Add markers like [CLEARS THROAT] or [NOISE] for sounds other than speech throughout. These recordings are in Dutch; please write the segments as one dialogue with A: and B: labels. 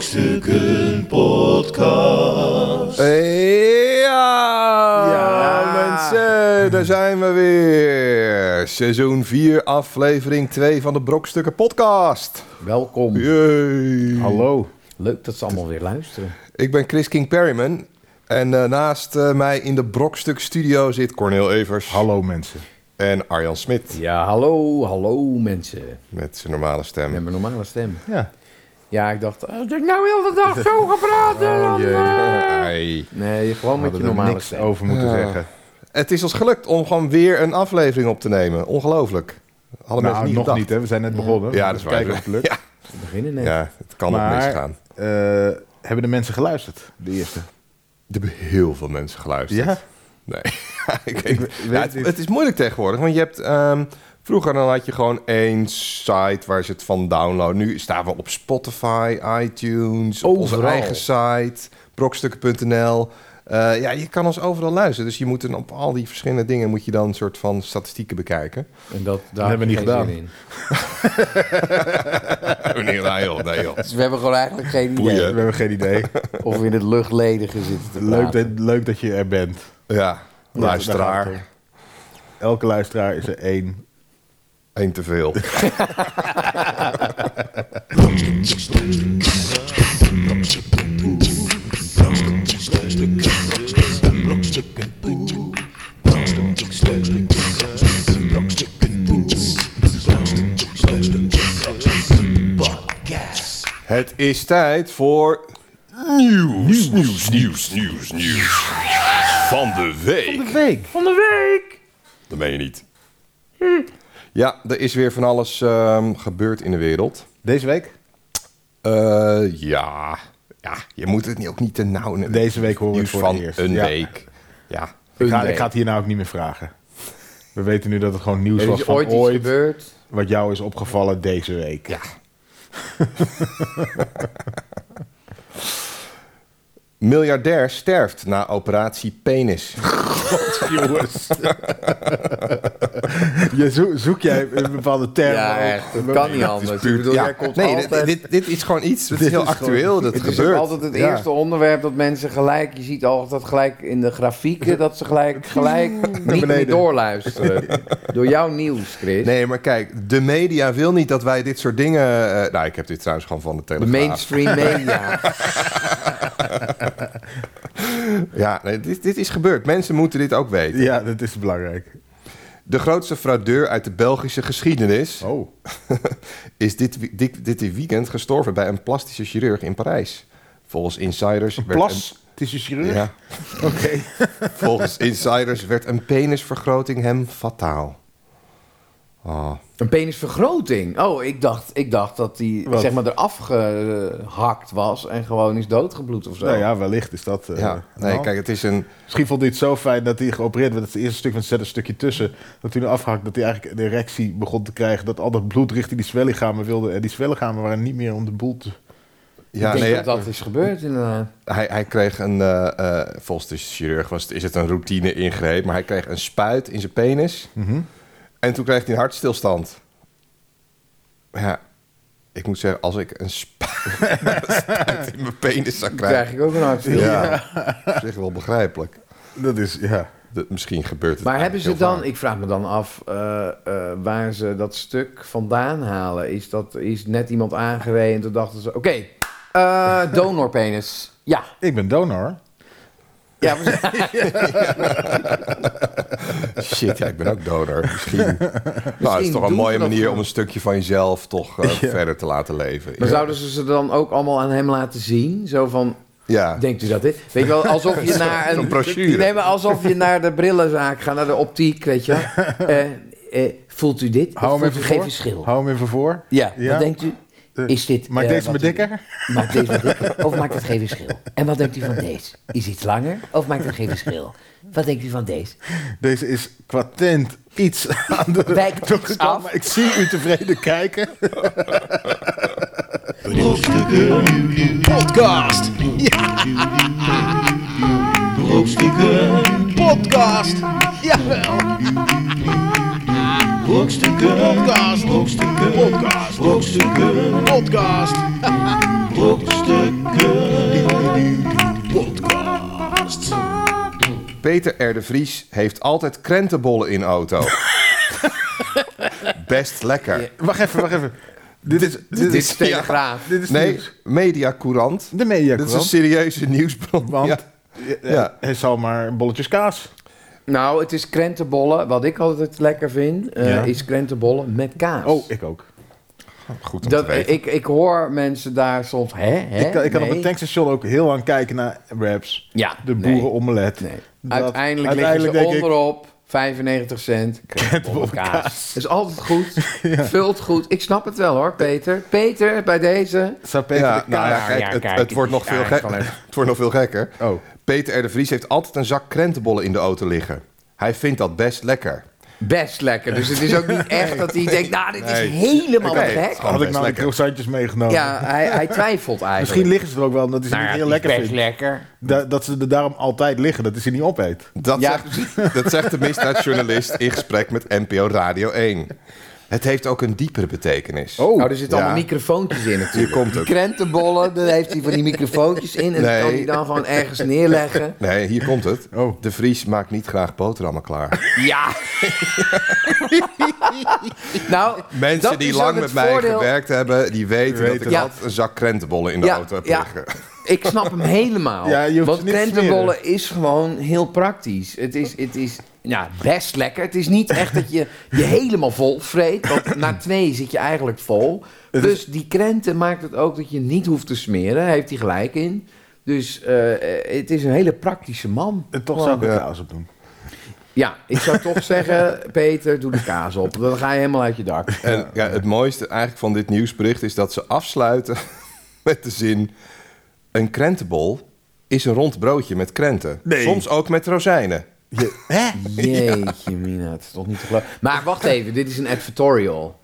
A: Brokstukken Podcast.
B: Ja,
C: Ja.
B: mensen, daar zijn we weer. Seizoen 4, aflevering 2 van de Brokstukken Podcast.
C: Welkom.
B: Yay.
C: Hallo. Leuk dat ze allemaal weer luisteren.
B: Ik ben Chris King Perryman. En eh, naast eh, mij in de Brokstuk Studio zit Cornel Evers.
A: Hallo mensen.
B: En Arjan Smit
C: Ja, hallo, hallo mensen.
B: met zijn normale stem.
C: Met mijn normale stem.
A: Ja.
C: Ja, ik dacht, als ik nou heel de dag zo ga praten, dan... eh.
B: Ai.
C: Oh, Nee, gewoon
A: We
C: met je
A: hadden er
C: normale
A: niks
C: stem.
A: over moeten
B: Ja.
A: zeggen.
B: Het is ons gelukt om gewoon weer een aflevering op te nemen. Ongelooflijk. Hadden
A: Nou,
B: mensen niet
A: nog
B: gedacht.
A: niet, hè? We zijn net begonnen.
B: Ja, dat is waar.
A: Kijken of het lukt.
B: Ja,
C: We beginnen net.
B: ja, het kan nog
A: Maar-
B: misgaan.
A: Eh, hebben de mensen geluisterd, de eerste?
B: Er hebben heel veel mensen geluisterd.
A: Ja?
B: Nee. [LAUGHS] ik weet,
A: weet
B: ja, het,
A: niet.
B: het is moeilijk tegenwoordig, want je hebt... ehm, vroeger dan had je gewoon één site waar ze het van downloaden. Nu staan we op Spotify, iTunes, op onze
C: Overal.
B: eigen site, brokstukken.nl. Eh, ja, je kan ons overal luisteren. Dus je moet dan op al die verschillende dingen moet je dan een soort van statistieken bekijken.
C: En dat, daar
A: hebben we
C: heb ik
A: niet
C: geen
A: gedaan.
C: zin
B: [LAUGHS]
C: in.
B: nee, nee, joh, nee, joh.
C: Dus we hebben gewoon eigenlijk geen idee
B: Boeien.
A: We hebben geen
B: [LAUGHS]
A: idee.
C: of we in het luchtledige zitten te
A: leuk,
C: praten.
A: dat, leuk dat je er bent.
B: Ja,
A: daar gaat
B: luisteraar.
A: het om. Elke luisteraar is er één.
B: Eén te veel. Het is tijd voor nieuws, nieuws, nieuws, nieuws, nieuws van de week.
A: Week.
B: Dat meen je niet. Ja, er is weer van alles ehm, gebeurd in de wereld.
A: Deze week?
B: Eh, ja. ja, je moet het niet- ook niet te nauw nemen.
A: Deze week horen we het
B: Nieuws
A: voor
B: van
A: het eerst.
B: een
A: Ja.
B: week. Ja.
A: Ik ga,
C: Een
A: ik ga
C: week.
A: het hier nou ook niet meer vragen. We weten nu dat het gewoon nieuws
C: Er
A: was
C: is
A: van
C: ooit
A: ooit,
C: iets gebeurd.
A: wat jou is opgevallen deze week.
B: ja. Miljardair sterft na operatie penis.
C: Oh, [LAUGHS]
A: jongens. [LAUGHS] Je zo- zoek jij een bepaalde term.
C: Ja,
A: op.
C: echt. Dat kan niet anders. Ik bedoel,
B: Ja,
C: jij komt
B: nee,
C: altijd...
B: dit, dit, dit is gewoon iets. Dat is heel
A: is
B: actueel. Dat
C: [LAUGHS] Het is
B: gebeurt.
C: ook altijd het
B: Ja.
C: eerste onderwerp dat mensen gelijk... Je ziet altijd gelijk in de grafieken dat ze gelijk, gelijk niet meer
A: beneden.
C: doorluisteren. Door jouw nieuws, Chris.
B: Nee, maar kijk, de media wil niet dat wij dit soort dingen. eh, nou, ik heb dit trouwens gewoon van de
C: de
B: telegraaf. [LAUGHS]
C: mainstream media.
B: Ja, nee, dit, dit is gebeurd. Mensen moeten dit ook weten.
A: Ja, dat is belangrijk.
B: De grootste fraudeur uit de Belgische geschiedenis
A: Oh.
B: is dit, wi- dit, dit weekend gestorven bij een plastische chirurg in Parijs. Volgens insiders. werd
A: Plas. Het is een chirurg.
B: een- ja,
A: [LAUGHS] Oké.
B: volgens insiders werd een penisvergroting hem fataal. Oh,
C: Een penisvergroting. Oh, ik dacht, ik dacht dat die
A: Wat?
C: zeg maar eraf gehakt was en gewoon is doodgebloed of zo.
A: Nou ja, wellicht is dat. eh,
B: ja. Nee,
A: nou.
B: kijk, het is een.
A: Misschien vond hij het zo fijn dat hij geopereerd werd. Het eerste stuk, want er zat een stukje tussen. Dat hij afhakt, dat hij eigenlijk een erectie begon te krijgen. Dat al dat bloed richting die zwellichamen wilde. En die zwellichamen waren niet meer om de boel te...
B: Ja,
C: ik denk
B: nee,
C: dat dat is gebeurd inderdaad.
B: hij, hij kreeg een. eh, eh, volgens de chirurg was, het- is het een routine ingreep, maar hij kreeg een spuit in zijn penis.
A: Mhm.
B: En toen kreeg hij een hartstilstand. Ja, ik moet zeggen, als ik een spu- [LAUGHS] een spuit in mijn penis zou
C: Dan krijg
B: krijgen,
C: ik ook een hartstil.
B: ja, op zich wel begrijpelijk.
A: Dat is, ja.
B: Dat, misschien gebeurt het.
C: Maar hebben ze
B: eigenlijk heel
C: dan, ik vraag me dan af eh, eh, waar ze dat stuk vandaan halen. Is, dat, is net iemand aangereden en toen dachten ze, oké, eh, donorpenis. Ja.
A: Ik ben donor.
C: Ja, we-
B: [LAUGHS] vaak. Shit, ja, ik ben ook donor.
C: [LAUGHS]
B: Misschien. nou, het is toch
C: doen
B: een mooie
C: ze dat
B: manier
C: wel.
B: om een stukje van jezelf toch
C: [LAUGHS]
B: eh, verder te laten leven.
C: maar
B: Ja.
C: zouden ze ze dan ook allemaal aan hem laten zien? Zo van,
B: Ja.
C: Denkt u dat dit? Weet je wel, alsof
A: [LAUGHS]
C: je naar een...
B: Zo'n brochure.
C: Nee, maar alsof je naar de brillenzaak gaat, naar de optiek, weet je.
A: [LAUGHS]
C: Eh, eh, voelt u dit?
A: Hou
C: Of
A: hem even
C: voelt u
A: voor.
C: geen verschil?
A: Hou hem even voor.
C: Ja,
A: Ja.
C: wat denkt u? Is dit...
A: Maak
C: eh,
A: deze
C: wat
A: maar
C: u-
A: dikker.
C: Maakt deze maar dikker?
A: [LAUGHS]
C: Of maakt het geen verschil? En wat denkt u van deze? Is iets langer? Of maakt het geen verschil? Wat denkt u van deze?
A: Deze is qua tent iets [LAUGHS] aan de
C: Wijkt iets
A: door de kant,
C: af.
A: maar ik zie u
C: [LAUGHS]
A: tevreden kijken.
D: Brokstukken Podcast. Ja. Brokstukken Podcast. Jawel. Brokstukken Podcast. Brokstukken Podcast. Brokstukken Podcast. Brokstukken
B: Peter R. de Vries heeft altijd krentenbollen in
C: [LAUGHS]
B: auto. Best lekker.
A: Wacht even, wacht even. Dit is, dit
C: Dit is
A: is,
C: Telegraaf.
A: dit is
B: Nee,
A: nieuws.
B: Media Courant.
A: De media
B: Dit is een serieuze nieuwsbron.
A: Want
B: Ja.
A: eh,
B: Ja.
A: hij zal maar bolletjes kaas.
C: Nou, het is krentenbollen. Wat ik altijd lekker vind, eh,
A: Ja.
C: is krentenbollen met kaas.
A: Oh, ik ook.
B: Goed om
C: dat,
B: te weten.
C: ik, ik hoor mensen daar soms, hè, hè?
A: ik kan, ik kan
C: Nee.
A: op een tankstation ook heel lang kijken naar wraps.
C: Ja,
A: De
C: nee,
A: boerenomelet.
C: nee.
A: Dat-
C: Uiteindelijk,
A: uiteindelijk
C: liggen ze
A: denk ik-
C: onderop, 95 cent, krentenbollen
A: Krentenbollen
C: kaas. Dat is altijd goed, vult goed. Ik snap het wel hoor, Peter. Peter, bij deze.
A: Zou Peter
B: ja,
A: de
B: nou
A: kaas-
B: ja, kijk,
C: Ja,
B: het,
C: kijk,
B: het wordt nog
C: ja,
B: veel
C: ik
B: gek-
C: zal even-
B: [LAUGHS] het wordt nog veel gekker.
A: Oh.
B: Peter R. de Vries heeft altijd een zak krentenbollen in de auto liggen. Hij vindt dat best lekker.
C: Best lekker. Dus het is ook niet echt dat hij denkt, nou, dit
B: Nee.
C: is helemaal
B: Nee.
C: gek.
B: Gewoon
A: Had ik
B: best
A: nou de
B: lekker.
A: croissantjes meegenomen.
C: Ja, hij, hij twijfelt eigenlijk.
A: Misschien liggen ze er ook wel, omdat hij ze
C: Nou ja,
A: niet
C: het
A: heel
C: is
A: lekker
C: best
A: vindt.
C: lekker.
A: Da- dat ze er daarom altijd liggen, dat hij ze niet opeet.
B: Dat,
C: Ja.
B: zegt, [LAUGHS] dat zegt de misdaadjournalist in gesprek met NPO Radio 1. Het heeft ook een diepere betekenis.
C: Oh, er zitten
B: Ja.
C: allemaal microfoontjes in natuurlijk.
B: Hier komt
C: die
B: het.
C: krentenbollen, daar heeft hij van die microfoontjes in. En
B: Nee.
C: die kan hij dan gewoon ergens
B: [LAUGHS]
C: neerleggen.
B: Nee, hier komt het.
A: Oh.
B: De Vries maakt niet graag boterhammen
C: [LAUGHS]
B: klaar.
C: Ja. nou,
B: Mensen
C: dat
B: die
C: is ook
B: lang
C: het
B: met mij
C: voordeel.
B: gewerkt hebben, die weten
A: Weten
B: dat ik
C: dat.
B: altijd een zak krentenbollen in de
C: Ja,
B: auto heb
C: ja.
B: liggen.
C: Ik snap hem helemaal.
A: Ja, je hoeft
C: Want
A: ze niet te
C: krentenbollen is gewoon heel praktisch. Het is, het is ja, best lekker. Het is niet echt dat je je helemaal vol vreet. Want na twee zit je eigenlijk vol. Dus die krenten maakt het ook dat je niet hoeft te smeren. Hij heeft hij gelijk in. Dus eh, eh, het is een hele praktische man.
A: En toch zou ik er
B: Ja.
A: kaas op doen.
C: Ja, ik zou
A: [LAUGHS]
C: toch zeggen, Peter, doe de kaas op. Dan ga je helemaal uit je dak.
A: [LAUGHS]
B: En ja, het mooiste eigenlijk van dit nieuwsbericht is dat ze afsluiten [LAUGHS] met de zin... Een krentenbol is een rond broodje met krenten.
A: Nee.
B: Soms ook met rozijnen.
A: Je, hè?
C: Jeetje, Mina, het is toch niet te geloven. Maar wacht even, dit is een advertorial.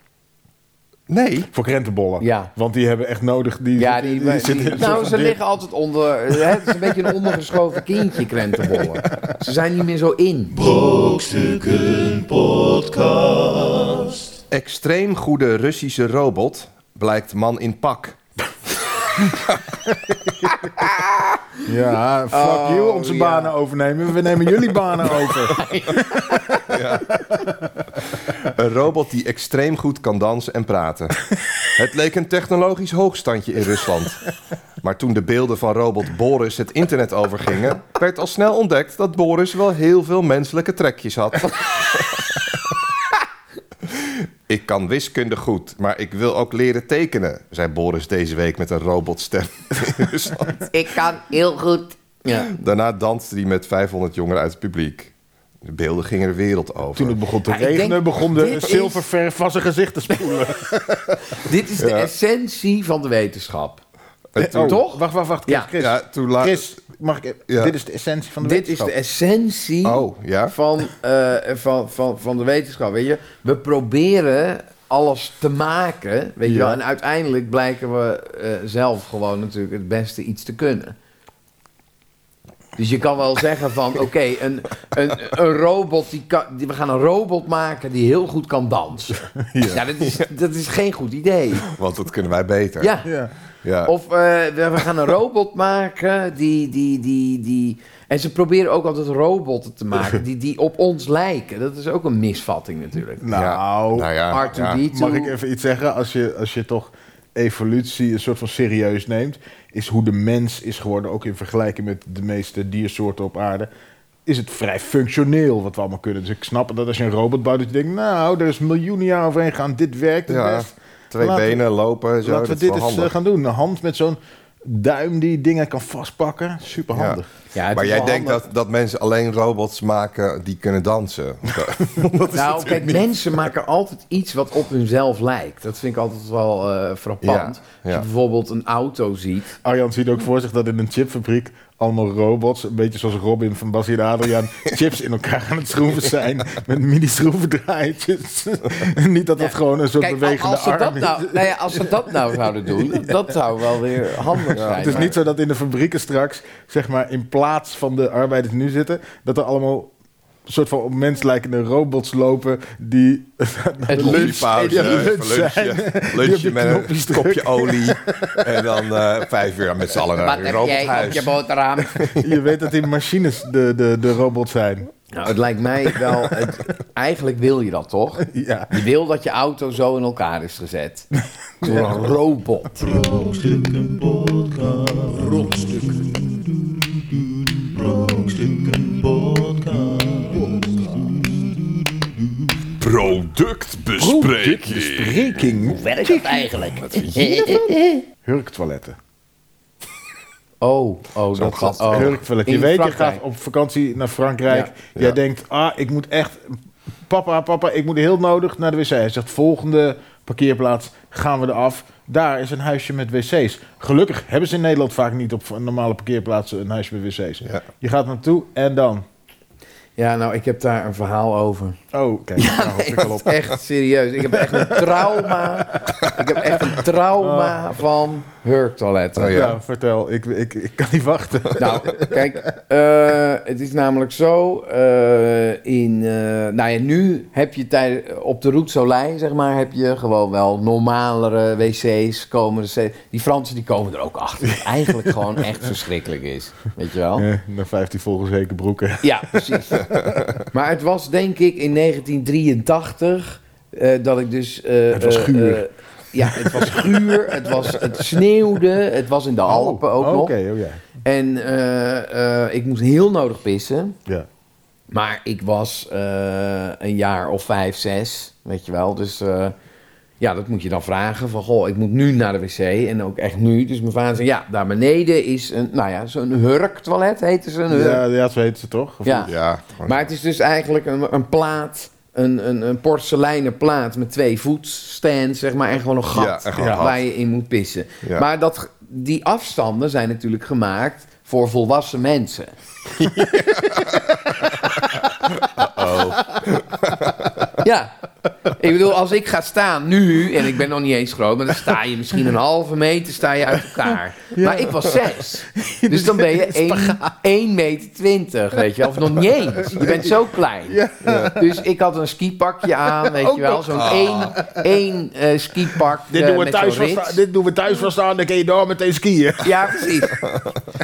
B: Nee.
A: Voor krentenbollen.
C: Ja.
A: Want die hebben echt nodig. Die,
C: Ja, die, die-
A: zitten in
C: nou,
A: zo'n
C: ze
A: ding.
C: liggen altijd onder. Hè, het is een beetje een ondergeschoven kindje, krentenbollen. Ze zijn niet meer zo in.
D: Brokstukken podcast.
B: Extreem goede Russische robot blijkt man in pak.
A: Ja, fuck
C: Oh,
A: you, onze
C: ja.
A: banen overnemen. We nemen jullie [LAUGHS] banen over.
B: Een robot die extreem goed kan dansen en praten. Het leek een technologisch hoogstandje in Rusland. Maar toen de beelden van robot Boris het internet overgingen, werd al snel ontdekt dat Boris wel heel veel menselijke trekjes had. Ik kan wiskunde goed, maar ik wil ook leren tekenen, zei Boris deze week met een robotstem in Rusland.
C: Ik kan heel goed. Ja.
B: Daarna danste hij met 500 jongeren uit het publiek. De beelden gingen de wereld over.
A: Toen het begon te
C: Ja, ik
A: regenen,
C: denk,
A: begon
C: dit
A: de
C: is-
A: zilververf van zijn gezicht te [LAUGHS] spoelen.
C: Dit is de essentie van de wetenschap.
B: En toen-
A: Oh,
C: Toch?
A: Wacht, wacht, wacht. Chris,
C: Ja.
A: Chris.
B: ja, toen la-
A: Chris, mag ik...
B: Ja.
A: Dit is de essentie van de
C: Dit is
A: wetenschap.
C: de essentie
B: Oh, ja?
C: van, eh, van, van, van de wetenschap. Weet je? We proberen alles te maken. Weet je
A: Ja.
C: wel? En uiteindelijk blijken we eh, zelf gewoon natuurlijk het beste iets te kunnen. Dus je kan wel zeggen van, oké, een, een, een robot, die kan, die, we gaan een robot maken die heel goed kan dansen. Ja, dat, is, dat is geen goed idee.
B: Want dat kunnen wij beter.
C: Ja.
A: Ja.
B: Ja.
C: Of eh, we, we gaan een robot [LAUGHS] maken die, die, die, die... En ze proberen ook altijd robotten te
A: [LAUGHS]
C: maken die, die op ons lijken. Dat is ook een misvatting natuurlijk.
A: Nou,
B: Nou ja,
C: R2D2.
B: ja.
A: Mag ik even iets zeggen? Als je, als je toch evolutie een soort van serieus neemt, is hoe de mens is geworden, ook in vergelijking met de meeste diersoorten op aarde, is het vrij functioneel wat we allemaal kunnen. Dus ik snap dat als je een robot bouwt, dat je denkt, nou, er is miljoenen jaar overheen gegaan, dit werkt het
B: Ja,
A: best.
B: Twee
A: Laten we-
B: benen lopen, zo,
A: Laten we
B: dat
A: dit
B: is wel
A: eens eh,
B: handig.
A: gaan doen. Een hand met zo'n duim die dingen kan vastpakken, super handig.
C: Ja, het
B: maar
C: is
B: jij
C: wel
B: denkt
C: handig.
B: dat, dat mensen alleen robots maken die kunnen dansen.
C: Nou, kijk, mensen maken altijd iets wat op hunzelf lijkt. Dat vind ik altijd wel eh, frappant.
B: Ja, ja.
C: Als je bijvoorbeeld een auto ziet.
A: Arjan ziet ook voor zich dat in een chipfabriek allemaal robots, een beetje zoals Robin van Basie en
C: [LAUGHS]
A: Adriaan, chips in elkaar aan het schroeven zijn met mini-schroevendraaitjes. [LAUGHS] Niet dat dat gewoon een soort
C: Kijk,
A: bewegende
C: als ze, dat
A: arm is.
C: nou, nou ja, als ze dat nou
A: [LAUGHS]
C: zouden doen, dat zou wel weer handig zijn.
A: Het is
C: maar-
A: niet zo dat in de fabrieken straks, zeg maar, in plaats van de arbeiders die nu zitten, dat er allemaal soort van op mens lijkende robots lopen die [LAUGHS]
C: Het liefst.
B: Lunchpauze,
A: Ja,
B: lunch
A: lunch zijn. Die op die
B: [LAUGHS] lunchje, lunchje met
A: knopjes
B: een kopje
A: [LAUGHS]
B: olie. En dan eh, vijf uur met z'n allen naar
C: Wat
B: een
C: heb jij op
B: robothuis.
C: je
A: [LAUGHS]
C: boterham?
A: Je weet dat die machines de, de, de robots zijn.
C: Nou, het lijkt mij wel... het- eigenlijk wil je dat, toch?
A: Ja.
C: Je wil dat je auto zo in elkaar is
A: [LAUGHS]
C: gezet. Door een robot.
D: Brokstukken podcast. Brokstukken. Brokstukken podcast.
B: Productbespreking.
A: Reking.
C: Werkt dat eigenlijk?
A: Hurktoiletten.
C: Oh, oh,
B: gat.
C: dat gaat. Oh.
A: Hurktoiletten. Je
C: In
A: weet, je
C: Frankrijk.
A: gaat op vakantie naar Frankrijk.
C: Ja.
A: Jij denkt, ah, ik moet echt... Papa, papa, ik moet heel nodig naar de wc. Hij zegt, volgende parkeerplaats gaan we eraf. Daar is een huisje met wc's. Gelukkig hebben ze in Nederland vaak niet op normale parkeerplaatsen een huisje met wc's.
B: Ja.
A: Je gaat naartoe en dan...
C: Ja, nou, ik heb daar een verhaal
A: [LAUGHS]
C: over.
A: Oh, kijk, daar hoop ik al op.
C: Echt serieus. Ik heb echt een trauma. ik heb echt een trauma
A: Oh.
C: van hurktoiletten.
B: Oh,
A: Ja,
B: ja.
A: vertel. Ik, ik, ik kan niet wachten.
C: Nou, kijk, eh, het is namelijk zo. eh, in, eh, nou ja, nu heb je tijd op de Route Soleil, zeg maar, heb je gewoon wel normalere wc's komen. er steeds- Die Fransen die komen er ook achter. dat
A: [LAUGHS]
C: het eigenlijk gewoon echt verschrikkelijk is. Weet je wel?
A: Eh, naar 15 volgezeken broeken.
C: Ja, precies. maar het was denk ik in 1983 eh, dat ik dus... eh,
A: Het was
C: eh,
A: guur.
C: eh, ja, het was guur, het, was, het sneeuwde, het was in de Alpen ook
A: Oké,
C: nog.
A: oh ja.
C: En eh, eh, ik moest heel nodig pissen.
A: ja.
C: Maar ik was eh, een jaar of vijf, zes, weet je wel. Dus eh, ja, dat moet je dan vragen. Van, goh, ik moet nu naar de wc en ook echt nu. Dus mijn vader zei, ja, daar beneden is een, nou ja, zo'n hurktoilet heette ze. Een hurk.
A: Ja, ja, zo heet ze toch? Of
C: Eh. Ja.
A: niet?
B: Ja, gewoon-
C: Maar het is dus eigenlijk een, een plaat, een, een, een porseleinen plaat met twee voetstands, zeg maar, en gewoon een gat
B: Ja, en gewoon
A: Ja.
B: gat.
C: waar je in moet pissen.
B: Ja.
C: Maar dat, die afstanden zijn natuurlijk gemaakt voor volwassen mensen.
B: Oh.
C: Oh. Ja, ik bedoel, als ik ga staan nu, en ik ben nog niet eens groot, maar dan sta je misschien een halve meter sta je uit elkaar. Maar ik was zes. Dus dan ben
A: [LAUGHS]
C: je 1, 1 meter 20, weet je wel. Of nog niet eens. Je bent zo klein. Dus ik had een skipakje aan, weet je wel. Zo'n één, één eh, skipak
A: Oh Dit,
C: eh,
A: doen we
C: met
A: thuis
C: zo'n
A: wel
C: rits.
A: staan, dit doen we thuis wel staan, dan kun je daar meteen skiën.
C: [LAUGHS] Ja, precies.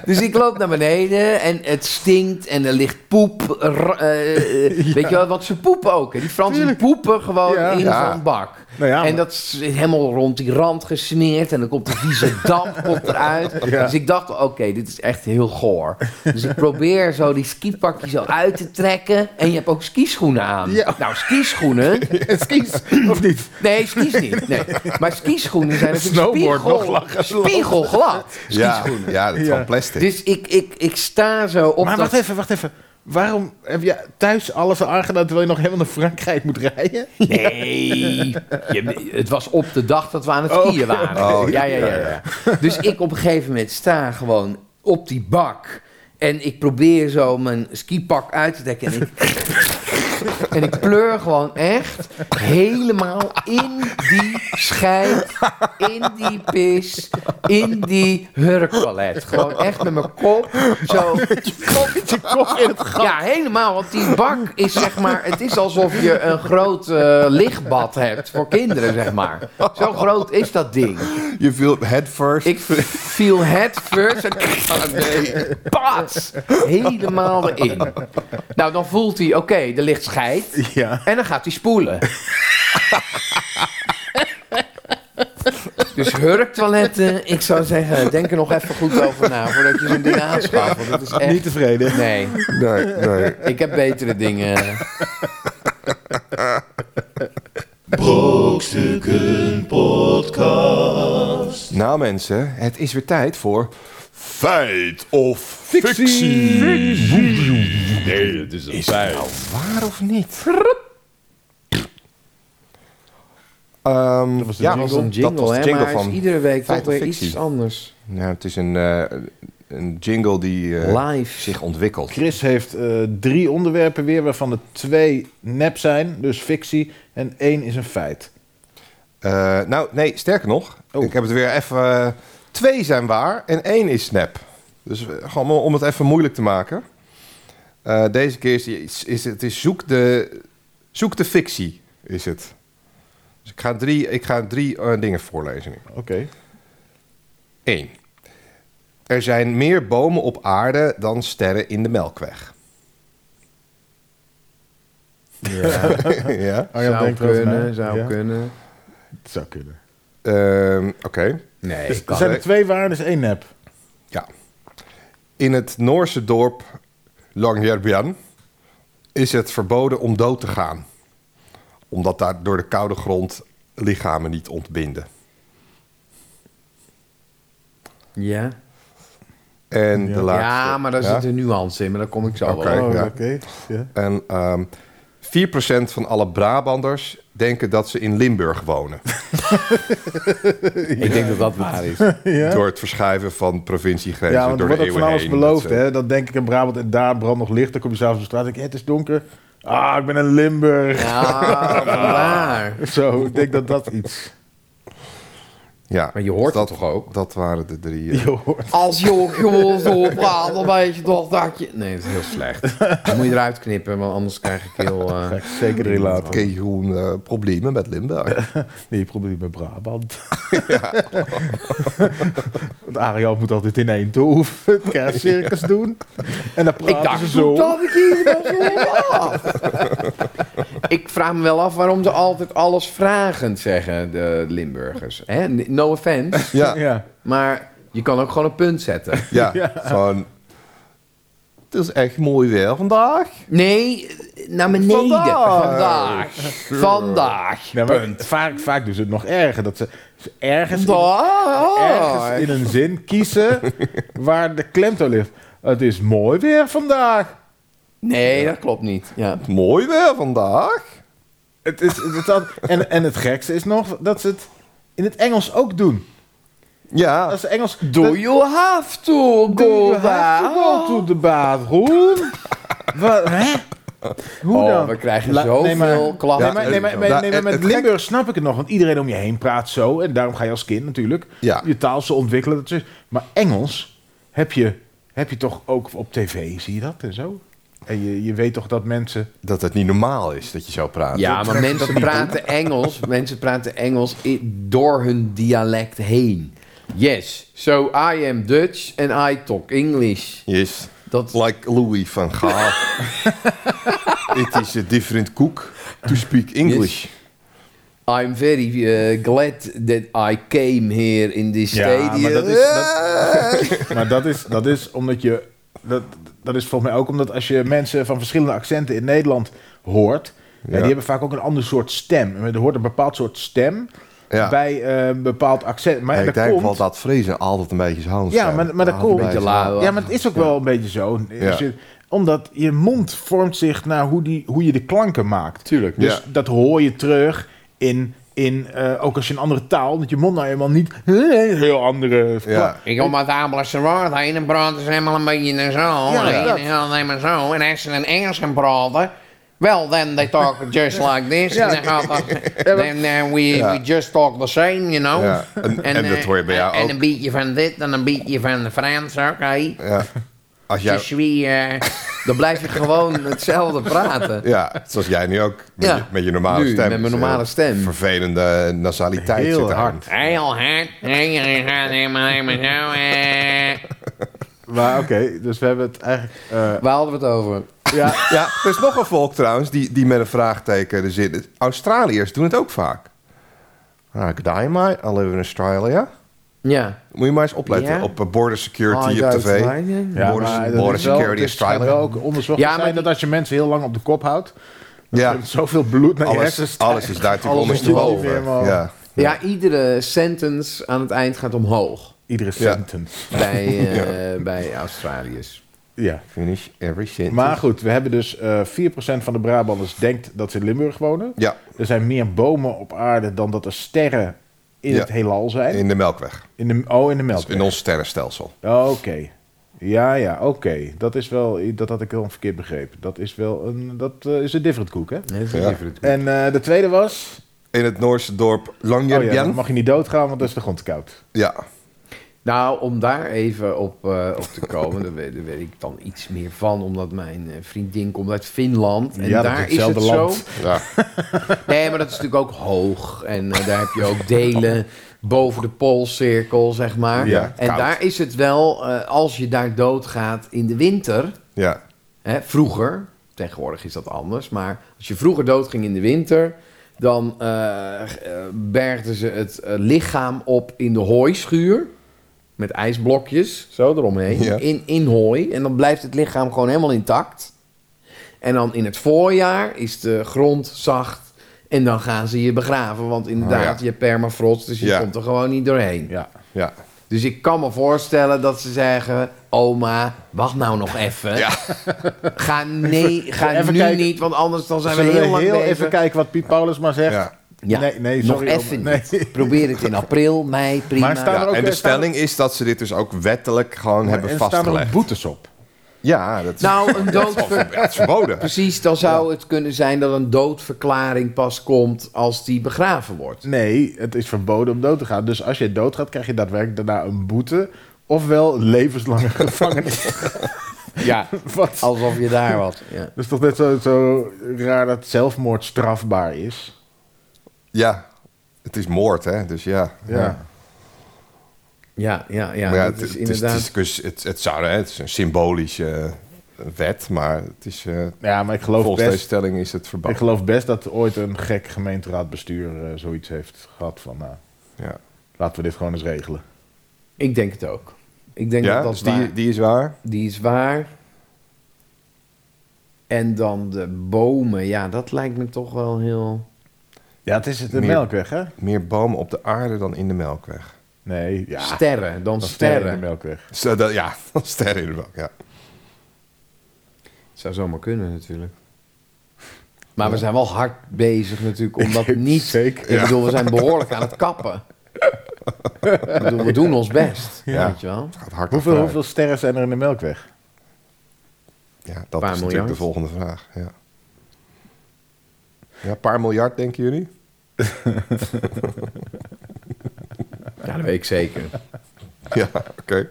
C: Dus ik loop naar beneden en het stinkt en er ligt poep. r- eh, eh,
A: [LAUGHS]
C: Weet je wel, want ze poepen ook. Hè? Die Fransen die poepen gewoon
A: Ja.
C: in
B: Ja.
C: zo'n bak.
A: Nou ja,
C: en
A: maar-
C: dat is helemaal rond die rand gesmeerd en dan komt de
A: [LAUGHS]
C: vieze damp komt eruit.
A: Ja.
C: Dus ik dacht, oké, dit is echt heel goor. Dus ik probeer zo die skipakje zo uit te trekken. En je hebt ook skischoenen aan.
A: Ja.
C: Nou, skischoenen...
A: [LAUGHS] Skis, of niet?
C: Nee, skis niet. Nee. Maar skischoenen zijn natuurlijk
A: Snowboard nog
C: spiegel, spiegelglad.
B: ja, ja, dat is
A: Ja.
B: van plastic.
C: Dus ik, ik, ik sta zo op
A: maar
C: dat...
A: wacht even, wacht even. Waarom heb je thuis alles aangedaan terwijl je nog helemaal naar Frankrijk moet rijden?
C: Nee, je- het was op de dag dat we aan het skiën waren.
B: Oh,
C: ja, ja, ja, ja. Dus ik op een gegeven moment sta gewoon op die bak. En ik probeer zo mijn skipak uit te dekken. En ik, en ik pleur gewoon echt helemaal in die scheid, in die pis, in die hurkpalet. Gewoon echt met mijn kop zo Ja, helemaal. Want die bak is zeg maar. Het is alsof je een groot eh, lichtbad hebt voor kinderen, zeg maar. Zo groot is dat ding.
B: Je viel head first.
C: Ik viel het first en pats, helemaal erin. Nou, dan voelt hij, oké, er ligt scheid.
A: [LAUGHS] Ja.
C: En dan gaat hij spoelen. Dus hurktoiletten, ik zou zeggen, denk er nog even goed over na voordat je zo'n ding aanschaft. Want het is
A: Niet
C: echt...
A: tevreden.
C: Nee.
B: Nee, nee.
C: Ik heb betere dingen.
D: Brokstukken podcast.
B: Nou mensen, het is weer tijd voor... Feit of fictie.
E: Nee, het is een
B: Is het
E: feit.
B: nou waar of niet? Ehm,
A: was de
B: ja,
A: jingle.
C: Dat was een jingle,
B: dat was de
C: hè,
B: jingle
C: maar hij is
B: van
C: iedere week
B: Feit
C: toch
B: of
C: weer
B: Fictie.
C: iets anders.
B: Nou, het is een, eh, een jingle die eh,
C: Live.
B: zich ontwikkelt.
A: Chris heeft eh, drie onderwerpen weer, waarvan er twee nep zijn, dus fictie, en één is een feit.
B: Eh, nou, nee, sterker nog.
A: Oh.
B: Ik heb het weer even... eh, twee zijn waar en één is nep. Dus eh, gewoon om het even moeilijk te maken. Eh, deze keer is, die- is, is het is zoek, de, zoek de fictie, is het. Dus ik ga drie, ik ga drie eh, dingen voorlezen nu.
A: Oké.
B: 1. Er zijn meer bomen op aarde dan sterren in de Melkweg.
A: Ja.
B: [LAUGHS] Oh ja.
A: Arjan
C: zou
A: denkt erover na.
C: kunnen, zou
A: Ja,
C: kunnen.
A: Het zou kunnen.
B: Ehm, Oké.
C: Nee,
A: Dus
C: kan
A: er zijn er
B: hè?
A: twee waarden, is één nep.
B: Ja. In het Noorse dorp Longyearbyen is het verboden om dood te gaan. Omdat daar door de koude grond lichamen niet ontbinden.
C: Ja.
B: En de laatste.
C: ja, maar daar
B: Ja?
C: zit een nuance in, maar daar kom ik zo
B: Oké.
C: wel op.
A: Oh,
B: ja.
A: oké. Ja.
B: En ehm 4% van alle Brabanders denken dat ze in Limburg wonen.
C: Ik denk dat dat waar [LAUGHS] is.
A: Ja.
B: Door het verschuiven van provinciegrenzen
A: Ja, want er
B: door de
A: wordt ook
B: eeuwen
A: van alles
B: heen.
A: beloofd.
B: Dat eh, ze-
A: Hè? Dan denk ik in Brabant en daar brandt nog licht. Dan kom je s'avonds op straat en denk je, het is donker. Ah, ik ben in Limburg. [LAUGHS]
C: Ja, waar.
A: Zo, ik denk dat dat iets... [LAUGHS]
B: Ja,
C: Maar je hoort
B: dat
C: het toch ook?
B: Dat waren de drie.
A: [LAUGHS]
B: eh,
A: Je hoort.
C: Als je ook gewoon zo praat, dan weet je toch dat je... Nee, dat is heel slecht. Dan moet je eruit knippen, want anders krijg ik heel... eh,
A: Zeker drie later.
B: Kejoen, eh, problemen met
A: [LAUGHS]
B: Limburg.
A: Nee, probleem met Brabant. Want Ariel moet altijd in één toef het kerstcircus doen. En dan praten
C: Ik
A: ze
C: dacht
A: zo.
C: toen dat ik hier nog zo af. Ik vraag me wel af waarom ze altijd alles vragend zeggen, de Limburgers. Hè? No offense,
B: Ja, ja.
A: Ja.
C: maar je kan ook gewoon een punt zetten.
B: Van, het is echt mooi weer vandaag.
C: Nee, naar beneden.
B: Vandaag.
C: Vandaag. Vandaag.
A: Ja, maar vaak, vaak doen ze het nog erger. Dat ze ze ergens, in, ergens
C: Vandaag.
A: in een zin kiezen waar de klemtoon ligt. Het is mooi weer vandaag.
C: Nee, dat klopt niet. Ja.
B: Mooi weer vandaag.
A: Het is, het is dat, en, en het gekste is nog dat ze het in het Engels ook doen.
B: Ja,
A: Als ze Engels...
C: Do you have to
A: Do you have to
C: go
A: go
C: back?
A: to the bathroom? Wat, hè? Hoe
C: Oh,
A: dan?
C: we krijgen
A: La-
C: zoveel
A: nee, maar-
C: klachten.
A: Nee, maar, nee, maar, nee,
B: Ja,
A: nee,
B: het-
A: maar met
B: het gek-
A: Limburg snap ik het nog. Want iedereen om je heen praat zo. En daarom ga je als kind natuurlijk
B: Ja.
A: je taal zo ontwikkelen. Dat is, maar Engels heb je, heb je toch ook op tv, zie je dat en zo? En je, je weet toch dat mensen...
B: dat het niet normaal is dat je zo praat.
C: Ja, maar mensen praten Engels. [LAUGHS] Mensen praten Engels i- door hun dialect heen. Yes, so I am Dutch and I talk English.
B: Yes.
C: Dat
B: Like Louis van
A: [LAUGHS]
B: Gaal. It is a different cook to speak English.
C: I'm very eh, glad that I came here in this
A: Ja,
C: stadium.
A: maar dat is-
C: [LAUGHS]
A: Maar dat is, dat is omdat je... Dat, dat is volgens mij ook omdat als je mensen van verschillende accenten in Nederland hoort... Ja.
B: Ja.
A: die hebben vaak ook een ander soort stem. En Er hoort een bepaald soort stem
B: Ja.
A: bij eh, een bepaald accent. Maar
B: Ja, ik
A: dat
B: denk
A: komt,
B: wel dat vrezen altijd een beetje zijn hand
A: Ja, maar, maar dat komt...
C: Ah, beetje laag.
A: Ja, maar het is ook wel een beetje zo.
B: Ja.
A: Als je- omdat je mond vormt zich naar hoe, die, hoe je de klanken maakt.
C: Tuurlijk.
A: Dus
B: Ja.
A: dat hoor je terug in, in eh, ook als je een andere taal, dat je mond nou helemaal niet heel andere.
B: Ja.
E: Ik kom uit Apelsen Woord heen en praten ze helemaal een beetje en zo. Ja,
A: dat.
E: en dan helemaal zo. En als ze in Engels gaan praten, well then they talk just like this.
A: [LAUGHS] Ja.
E: En dan gaat
A: [LAUGHS]
E: dat, then eh, we, we just talk the same, you know.
B: Ja, en- en dat
E: eh,
B: hoor je bij jou
E: en
B: ook.
E: een beetje van dit en een beetje van de Frans, oké.
B: Ja. Als jij,
E: Dus wie, eh,
C: Dan blijf je
E: [LAUGHS]
C: gewoon hetzelfde praten.
B: ja, zoals jij nu ook. Met,
C: Ja.
B: je, met je normale
C: Nu,
B: stem.
C: met mijn normale
B: Eh,
C: stem.
B: Vervelende nasaliteit
A: Heel
B: zit eraan.
A: hard.
E: heel hard. En je gaat helemaal helemaal zo. eh.
A: Maar oké, dus we hebben het eigenlijk. eh,
C: Waar hadden we het over?
A: ja,
B: Ja, er is nog een volk trouwens die, die met een vraagteken er zit. Australiërs doen het ook vaak. Ah, G'day mate, I live in Australia.
C: Ja.
B: Moet je maar eens opletten
C: Ja? Ah,
B: op eh, border security
C: I
B: op
C: go to
B: tv.
C: Australia.
A: ja,
B: Border-
A: maar dat
B: Border
A: is wel- dus
B: Security
A: het schijnt
B: Australia.
A: wel ook onderzocht
C: Ja,
A: ja,
C: maar
A: zijn
C: die-
A: dat als je mensen heel lang op de kop houdt,
B: Ja,
A: dan zoveel bloed naar je
B: alles,
A: hersens.
B: alles is daar natuurlijk
A: Alles is niet meer
B: ondersteboven.
A: helemaal-
B: Ja.
C: Ja, iedere sentence aan het eind gaat omhoog.
A: Iedere
B: Ja.
A: sentence.
C: Bij,
A: [LAUGHS]
C: eh, bij Australiërs.
A: Ja.
B: Finish every sentence.
A: Maar goed, we hebben dus eh 4% van de Brabanders denkt dat ze in Limburg wonen.
B: Ja,
A: Er zijn meer bomen op aarde dan dat er sterren in
B: Ja.
A: het heelal zijn.
B: in de Melkweg.
A: In de, oh, in de
B: Dat is
A: melk.
B: in ons sterrenstelsel.
A: Oké. Ja, ja, oké. Dat is wel, dat had ik dan verkeerd begrepen. Dat is wel een, dat eh, is een different koek, hè?
C: Dat is
B: Ja.
C: even het-
A: En eh, de tweede was,
B: In het Noorse dorp
A: oh ja,
B: Longyearbyen.
A: dan mag je niet doodgaan, want dan is de grond koud.
B: ja.
C: Nou, om daar even op, eh, op te komen, [LAUGHS] daar weet, daar weet ik dan iets meer van, omdat mijn eh, vriendin komt uit Finland. En
A: Ja, dat is
C: daar is het
A: hetzelfde land.
C: zo.
B: Ja.
C: Nee, maar dat is natuurlijk ook hoog. En eh, daar heb je
A: [LAUGHS]
C: ook delen boven de poolcirkel, zeg maar.
B: Ja,
C: en
B: koud.
C: daar is het wel, eh, als je daar doodgaat in de winter,
B: ja.
C: hè, vroeger, tegenwoordig is dat anders, maar als je vroeger doodging in de winter, dan eh, eh, bergden ze het eh, lichaam op in de hooischuur. Met ijsblokjes, zo eromheen,
B: Ja.
C: in, in hooi. En dan blijft het lichaam gewoon helemaal intact. En dan in het voorjaar is de grond zacht. En dan gaan ze je begraven. Want inderdaad,
B: Oh ja.
C: je hebt permafrost, dus je
B: Ja.
C: komt er gewoon niet doorheen.
A: Ja.
B: ja.
C: Dus ik kan me voorstellen dat ze zeggen: Oma, wacht nou nog even.
B: Ja.
C: Ga, nee, ga
A: even
C: nu
A: kijken.
C: niet, want anders dan zijn we
A: Zullen
C: heel
A: we
C: lang
A: heel
C: bezig.
A: even kijken wat Piet Paulus maar zegt?
B: Ja.
C: Ja,
A: Nee, nee,
C: nog
A: sorry, oma.
C: even
A: Nee. [LAUGHS]
C: niet. Probeer het in april, mei, prima.
A: Maar staan
B: Ja,
A: er ook- eh,
B: en de
A: staan er- Oh,
B: stelling is dat ze dit dus ook wettelijk gewoon hebben
A: en staan er ook
B: vastgelegd.
A: boetes op?
B: Ja, dat is,
C: Nou,
A: [LAUGHS]
C: een doodver...
B: dat is verboden.
C: Precies, dan zou het kunnen zijn dat een doodverklaring pas komt als die begraven wordt.
A: Nee, het is verboden om dood te gaan. Dus als je doodgaat, krijg je daadwerkelijk daarna een boete... ofwel levenslange [LAUGHS] gevangenis. [LAUGHS]
C: Ja,
A: Wat?
C: alsof je
A: [LAUGHS]
C: daar was. Ja.
A: Dat is toch net zo, zo raar dat zelfmoord strafbaar is?
B: Ja, het is moord, hè? Dus ja.
A: Ja.
C: Ja, ja, ja,
B: Maar ja,
C: dat
B: het, het,
C: is
B: is, het,
C: inderdaad...
B: is, dus het, het zou, hè, het is een symbolische eh, wet, maar het is, eh,
A: Ja, maar ik geloof,
B: volgens deze
A: best,
B: stelling is het
A: ik
B: verboden.
A: geloof best dat ooit een gek gemeenteraadbestuur eh, zoiets heeft gehad van... nou,
B: Ja,
A: laten we dit gewoon eens regelen.
C: Ik denk het ook. Ik denk
B: ja
C: dat dat
B: dus die,
C: waar-
B: die is waar.
C: Die is waar. En dan de bomen. Ja, dat lijkt me toch wel heel...
A: Ja, het is het de
B: Meer-
A: Melkweg, hè?
B: Meer bomen op de aarde dan in de Melkweg.
A: Nee, ja.
C: sterren, dan
A: dan
C: sterren.
A: in de Melkweg.
B: Zo, dat, ja, [LAUGHS] dan sterren in de Melkweg. Ja.
C: Zou zomaar kunnen natuurlijk. Maar we zijn wel hard bezig natuurlijk om dat niet...
A: zeker.
C: Ik bedoel, we zijn behoorlijk aan het kappen. Ik bedoel, we doen ons best,
B: Ja.
C: weet je wel.
B: Het gaat hard
A: Hoeveel,
B: achteruit.
A: hoeveel sterren zijn er in de Melkweg?
B: Ja, dat
C: Paar
B: is natuurlijk
C: miljard.
B: de volgende vraag. Ja. ja, een paar miljard denken jullie?
C: Ja, dat weet ik zeker.
B: Ja, oké.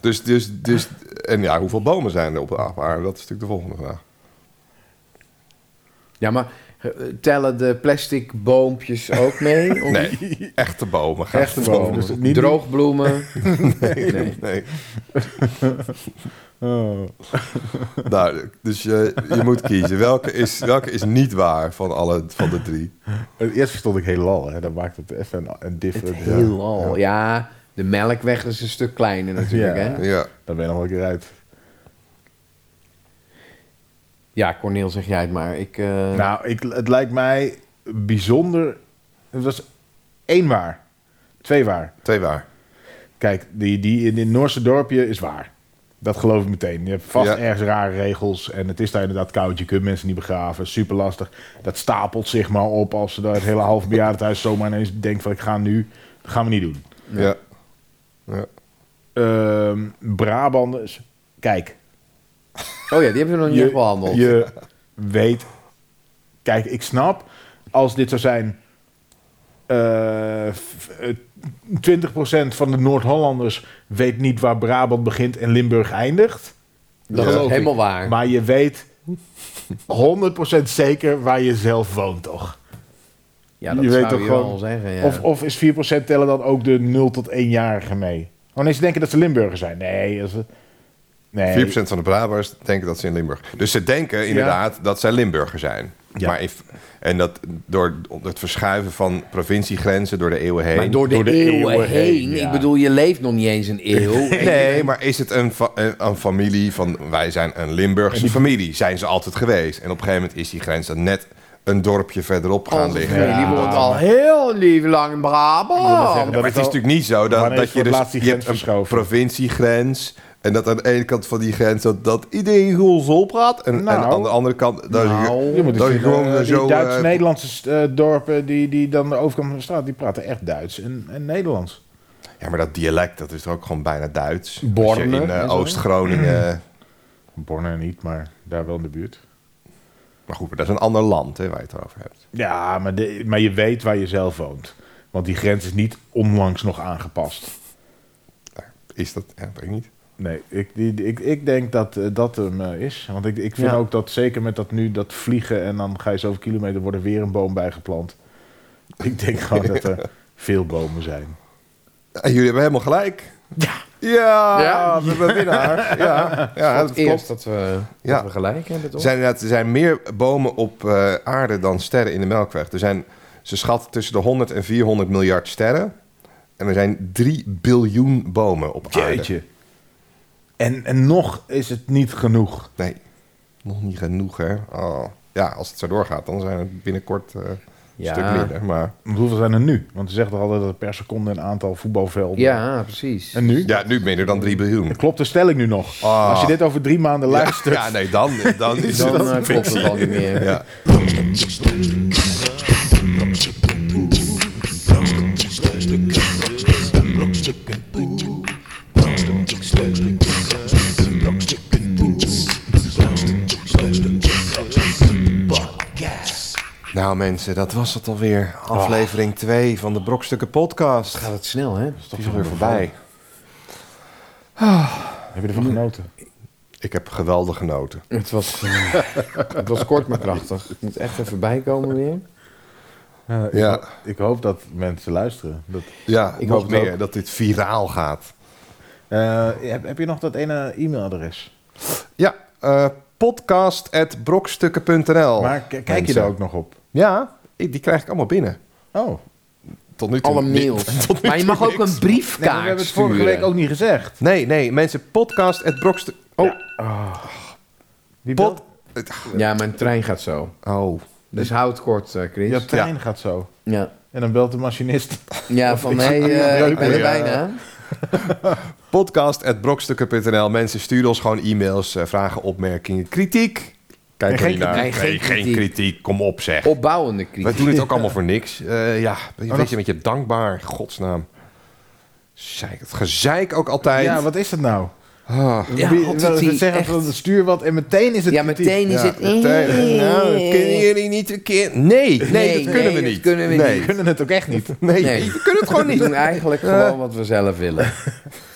B: Dus, dus, dus, en ja, hoeveel bomen zijn er op de aarde? Dat is natuurlijk de volgende vraag.
C: Ja, maar eh, tellen de plastic boompjes ook mee? Of
B: Nee, echte bomen. Ga
A: Echte
B: echte
A: bomen.
B: bomen.
A: Dus niet-
C: Droogbloemen?
B: Nee, nee. Nou, dus je, je moet kiezen. Welke is, welke is niet waar van, alle, van de drie?
A: Eh, Eerst verstond ik heelal, hè. Dat maakt het even een, een different.
C: Het heelal, ja. De melkweg is een stuk kleiner natuurlijk,
A: Ja.
C: hè?
B: Ja.
A: Daar ben je nog wel een keer uit.
C: Ja, Corneel, zeg jij het maar. Ik, eh,
A: Nou, ik, het lijkt mij bijzonder... Het was één waar. Twee waar.
B: Twee waar.
A: Kijk, die, die in dit Noorse dorpje is waar. Dat geloof ik meteen. Je hebt vast
B: Ja.
A: ergens rare regels. En het is daar inderdaad koud. Je kunt mensen niet begraven. Super lastig. Dat stapelt zich maar op als ze daar het hele half bejaardenhuis zomaar ineens denkt van ik ga nu. Dat gaan we niet doen.
B: Ja. ja.
A: Ehm Brabanders. Kijk,
C: Oh ja, die hebben we nog niet
A: je,
C: behandeld.
A: je weet. Kijk, ik snap als dit zou zijn. eh, f- eh, 20% van de Noord-Hollanders weet niet waar Brabant begint en Limburg eindigt.
C: dat
B: Ja.
C: is helemaal waar.
A: Maar je weet 100% zeker waar je zelf woont, toch?
C: ja, dat
A: je
C: zou
A: weet toch
C: je
A: gewoon-
C: wel zeggen. Ja.
A: Of, of is 4% tellen dan ook de 0 tot 1-jarigen mee? Oh nee, ze denken dat ze Limburgers zijn. Nee, als ze- nee.
B: 4% van de Brabants denken dat ze in Limburg. Dus ze denken inderdaad dat zij Limburger zijn.
A: Ja.
B: Maar if, en dat door het verschuiven van provinciegrenzen door de eeuwen heen.
C: Maar door de,
A: door de
C: eeuwen,
A: eeuwen
C: heen.
A: heen, ja.
C: Ik bedoel, je leeft nog niet
A: [LAUGHS]
C: eens een eeuw.
B: Nee, maar is het een, fa- een, een familie van wij zijn een Limburgse familie? Zijn ze altijd geweest? En op een gegeven moment is die grens dan net een dorpje verderop gaan
C: Oh,
B: liggen.
A: familie.
B: Ja,
C: Die woont
A: maar-
C: al heel lief lang in Brabant.
A: Dat is
B: maar het is
A: al-
B: natuurlijk niet zo dat,
A: Wanneer is
B: dat
A: voor
B: je
A: het
B: dus
A: laatst die
B: je
A: grens
B: hebt een
A: verschoven?
B: provinciegrens en dat aan de ene kant van die grens dat, dat iedereen gewoon zo praat en, en
A: Nou.
B: aan de andere kant dat
C: Nou.
B: je,
A: Je moet
B: dat je
A: eens zien,
B: gewoon
A: eh, die
B: zo eh,
A: Duits-Nederlandse eh, dorpen die, die dan de overkant van de straat, die praten echt Duits en, en Nederlands.
B: ja, maar dat dialect dat is toch ook gewoon bijna Duits. Als je
C: Borne
B: in eh,
C: en zo.
B: Oost-Groningen,
A: Borne niet, maar daar wel in de buurt.
B: [CLEARS THROAT] maar goed, maar dat is een ander land hè, waar je het over hebt.
A: Ja, maar, de, maar je weet waar je zelf woont. Want die grens is niet onlangs nog aangepast.
B: Ja. Is dat? Ja, weet ik niet.
A: Nee, ik, die, die- ik, ik denk dat eh, dat hem eh, is. Want ik, ik vind
C: Ja.
A: ook dat zeker met dat nu dat vliegen en dan ga je zoveel kilometer worden weer een boom bijgeplant. Ik denk gewoon dat [LAUGHS] er veel bomen zijn.
B: Ja, Ah, jullie hebben helemaal gelijk.
C: Ja.
B: Ja,
C: Ja.
B: we hebben een
C: [LAUGHS]
B: winnaar. Ja, ja dat
C: Eerst
B: klopt.
C: dat we,
B: Ja.
C: dat we gelijk hebben,
B: Er
C: toch?
B: zijn, inderdaad- er zijn meer bomen op eh, aarde dan sterren in de Melkweg. Er zijn, ze schatten tussen de 100 en 400 miljard sterren. En er zijn 3 biljoen bomen op aarde.
A: Jeetje. En, en nog is het niet genoeg.
B: Nee, nog niet genoeg hè. Oh. Ja, als het zo doorgaat, dan zijn het binnenkort eh, een
C: Ja.
B: stuk minder. Maar
A: Want hoeveel zijn er nu? Want ze zegt toch altijd dat er per seconde een aantal voetbalvelden.
C: Ja, precies.
A: En nu?
B: ja, nu minder dan 3 biljoen.
A: Klopt de stelling nu nog?
B: Ah.
A: Als je dit over drie maanden luistert.
B: Ja, nee, dan, dan is
C: [LAUGHS] Dan
B: het...
C: eh,
A: [LAUGHS]
C: klopt het al niet meer.
B: Ja. Nou, Nou mensen, dat was het alweer. Aflevering 2 van de Brokstukken podcast.
C: Gaat het snel, hè?
B: Het is alweer voorbij.
A: Heb je ervan genoten?
B: Ik heb geweldig genoten.
C: Het was, eh, het was kort maar krachtig. Het moet echt even bijkomen weer.
A: Ja, ik,
B: Ja.
A: ho- ik hoop dat mensen luisteren. Dat,
B: Ja, ik
A: hoop
B: hoop
A: het
B: meer dat dit viraal gaat.
A: Eh, heb, heb je nog dat ene e-mailadres?
B: Ja, eh podcast.brokstukken.nl.
A: maar k- kijk je
B: Oh, mensen.
A: daar ook nog op?
B: Ja, ik- die krijg ik allemaal binnen.
A: Oh.
B: Tot nu toe.
C: Alle
B: ni-
C: [LAUGHS] mails.
B: Tot nu
C: Maar je
B: toe
C: mag ook
B: niks.
C: een briefkaart
A: Nee, maar we hebben het vorige
C: sturen.
A: week ook niet gezegd.
B: Nee, nee, mensen, podcast.brokstukken... Oh,
A: Die
B: pod...
A: bel-
C: Ja, mijn trein gaat zo.
B: Oh.
C: Dus houd het kort, eh, Chris.
A: Ja, trein gaat zo.
C: Ja.
A: En dan belt de machinist.
C: Ja, van
A: Ik
C: hey,
A: zie-
C: eh,
A: Ja,
C: ik ben er
B: ja.
C: bijna.
B: Podcast.brokstukken.nl. Mensen, stuur ons gewoon e-mails, eh, vragen, opmerkingen, kritiek. Kijk
A: geen
B: er niet naar.
C: kritiek. Nee, geen kritiek.
B: Kom op, zeg.
C: Opbouwende
B: Wij
C: kritiek.
B: doen
C: [LAUGHS]
B: het ook allemaal voor niks. Eh, ja, weet
A: Oh, dat-
B: je, met je dankbaar, godsnaam. Zeik, het gezeik ook altijd.
A: Ja, wat is dat nou?
B: Ah.
C: Ja,
A: Wie-
C: altijd
A: wel, ze
C: die
A: zeggen van
C: echt-
A: de stuur wat en meteen is het
C: Ja,
A: kritiek.
C: meteen is
B: Ja,
C: het...
B: meteen. Nou, kunnen jullie niet een keer... Nee, nee,
C: Nee,
B: dat kunnen
C: nee,
B: we
C: dat
B: niet.
C: kunnen we
B: nee.
A: Die kunnen het ook echt niet.
B: Nee,
C: Nee.
B: [LAUGHS] we kunnen het gewoon
C: We
B: niet.
C: doen eigenlijk
A: Eh.
C: gewoon wat we zelf
A: [LAUGHS]
C: willen.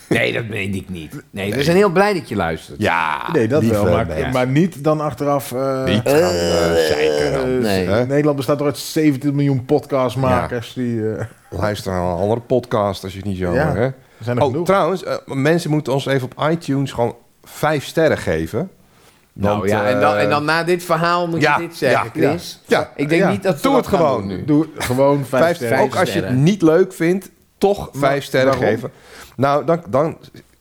C: Nee, dat meen ik niet. Nee, we zijn heel blij dat je luistert.
B: Ja,
A: Nee, dat wel. Maar,
B: mensen.
A: maar niet dan achteraf... eh,
B: Niet gaan eh, zeiken dan.
A: eh,
C: Nee.
A: hè? Nederland bestaat toch uit 17 miljoen podcastmakers. Die, eh,
B: Luister naar een andere podcast als je het niet zo...
A: Ja,
B: hè?
A: er zijn er
B: Oh,
A: genoeg.
B: trouwens, eh, mensen moeten ons even op iTunes gewoon vijf sterren geven.
C: nou
B: Want, eh,
C: ja, en dan, en dan na dit verhaal moet
B: ja,
C: je dit zeggen,
B: ja,
C: Chris.
B: ja. Ja.
C: Ik denk
A: Ja,
C: niet dat we
B: doe
C: dat
B: het
C: gaan
B: gewoon.
C: doen nu.
A: Doe gewoon vijf,
B: Vijf
A: sterren.
B: Ook als je het
C: sterren.
B: niet leuk vindt, toch vijf sterren
A: waarom?
B: geven. Nou, dan, dan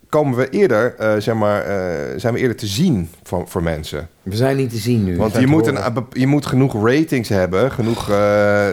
B: komen we eerder, eh, zeg maar, eh, zijn we eerder te zien van, voor mensen.
C: We zijn niet te zien nu.
B: Want
A: zijn
B: je
A: te
B: moet,
A: horen.
B: een, bep- je moet genoeg ratings hebben, genoeg eh,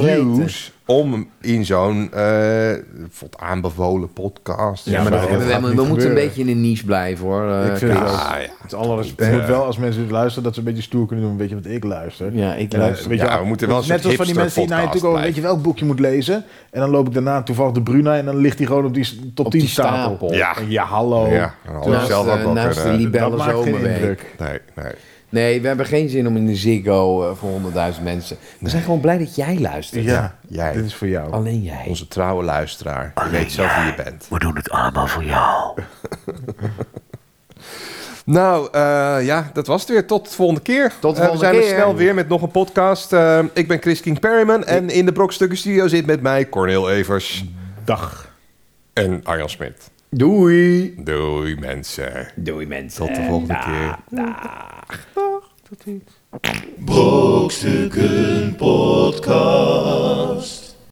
B: reviews, om in zo'n eh, bijvoorbeeld aanbevolen podcast.
C: ja, maar
A: dat-
C: we,
A: dat gaat
C: we
A: niet
C: moeten een
A: gebeuren.
C: beetje in een niche blijven, hoor. eh,
A: Ik vind het
C: Chris.
A: wel-
B: Ah, ja.
A: Het alle respect. moet wel als mensen dit luisteren dat ze een beetje stoer kunnen doen. Weet je wat ik luister?
C: Ja, ik
A: En,
C: luister.
A: weet je
B: Ja, we moeten wel een
A: Net
B: soort
A: als van die mensen die nou naar je toe
B: hipsterpodcast
A: komen, weet je welk boekje moet lezen. En dan loop ik daarna toevallig de Bruna en dan ligt die gewoon op die s- top
C: Op
A: 10
C: die
A: stapel.
C: stapel.
B: Ja.
A: En ja, hallo.
B: Ja, dan hadden we
C: Naast,
B: zelf
C: eh,
B: ook wel
C: naast
B: kunnen.
C: de lief-
A: dat
C: Bellen
A: maakt geen
C: Zomerweek.
A: indruk.
B: Nee, nee.
C: Nee, we hebben geen zin om in de Ziggo eh, voor 100.000 mensen. We zijn gewoon blij dat jij luistert.
A: Ja,
B: Jij.
A: dit is voor jou.
C: Alleen jij.
B: Onze trouwe luisteraar. Je weet zelf wie je bent.
F: We doen het allemaal voor jou.
B: [LAUGHS] Nou, eh, ja, dat was het weer. Tot de volgende keer.
C: Tot de
B: Eh, we
C: volgende
B: zijn
C: keer.
B: er snel weer met nog een podcast. Eh, ik ben Chris King Perryman. En in de Brokstukken Studio zit met mij Cornel Evers
A: Dag.
B: en Arjan Smit.
C: Doei.
B: Doei mensen.
C: Doei mensen.
B: Tot de volgende keer.
D: Brokstukken Podcast.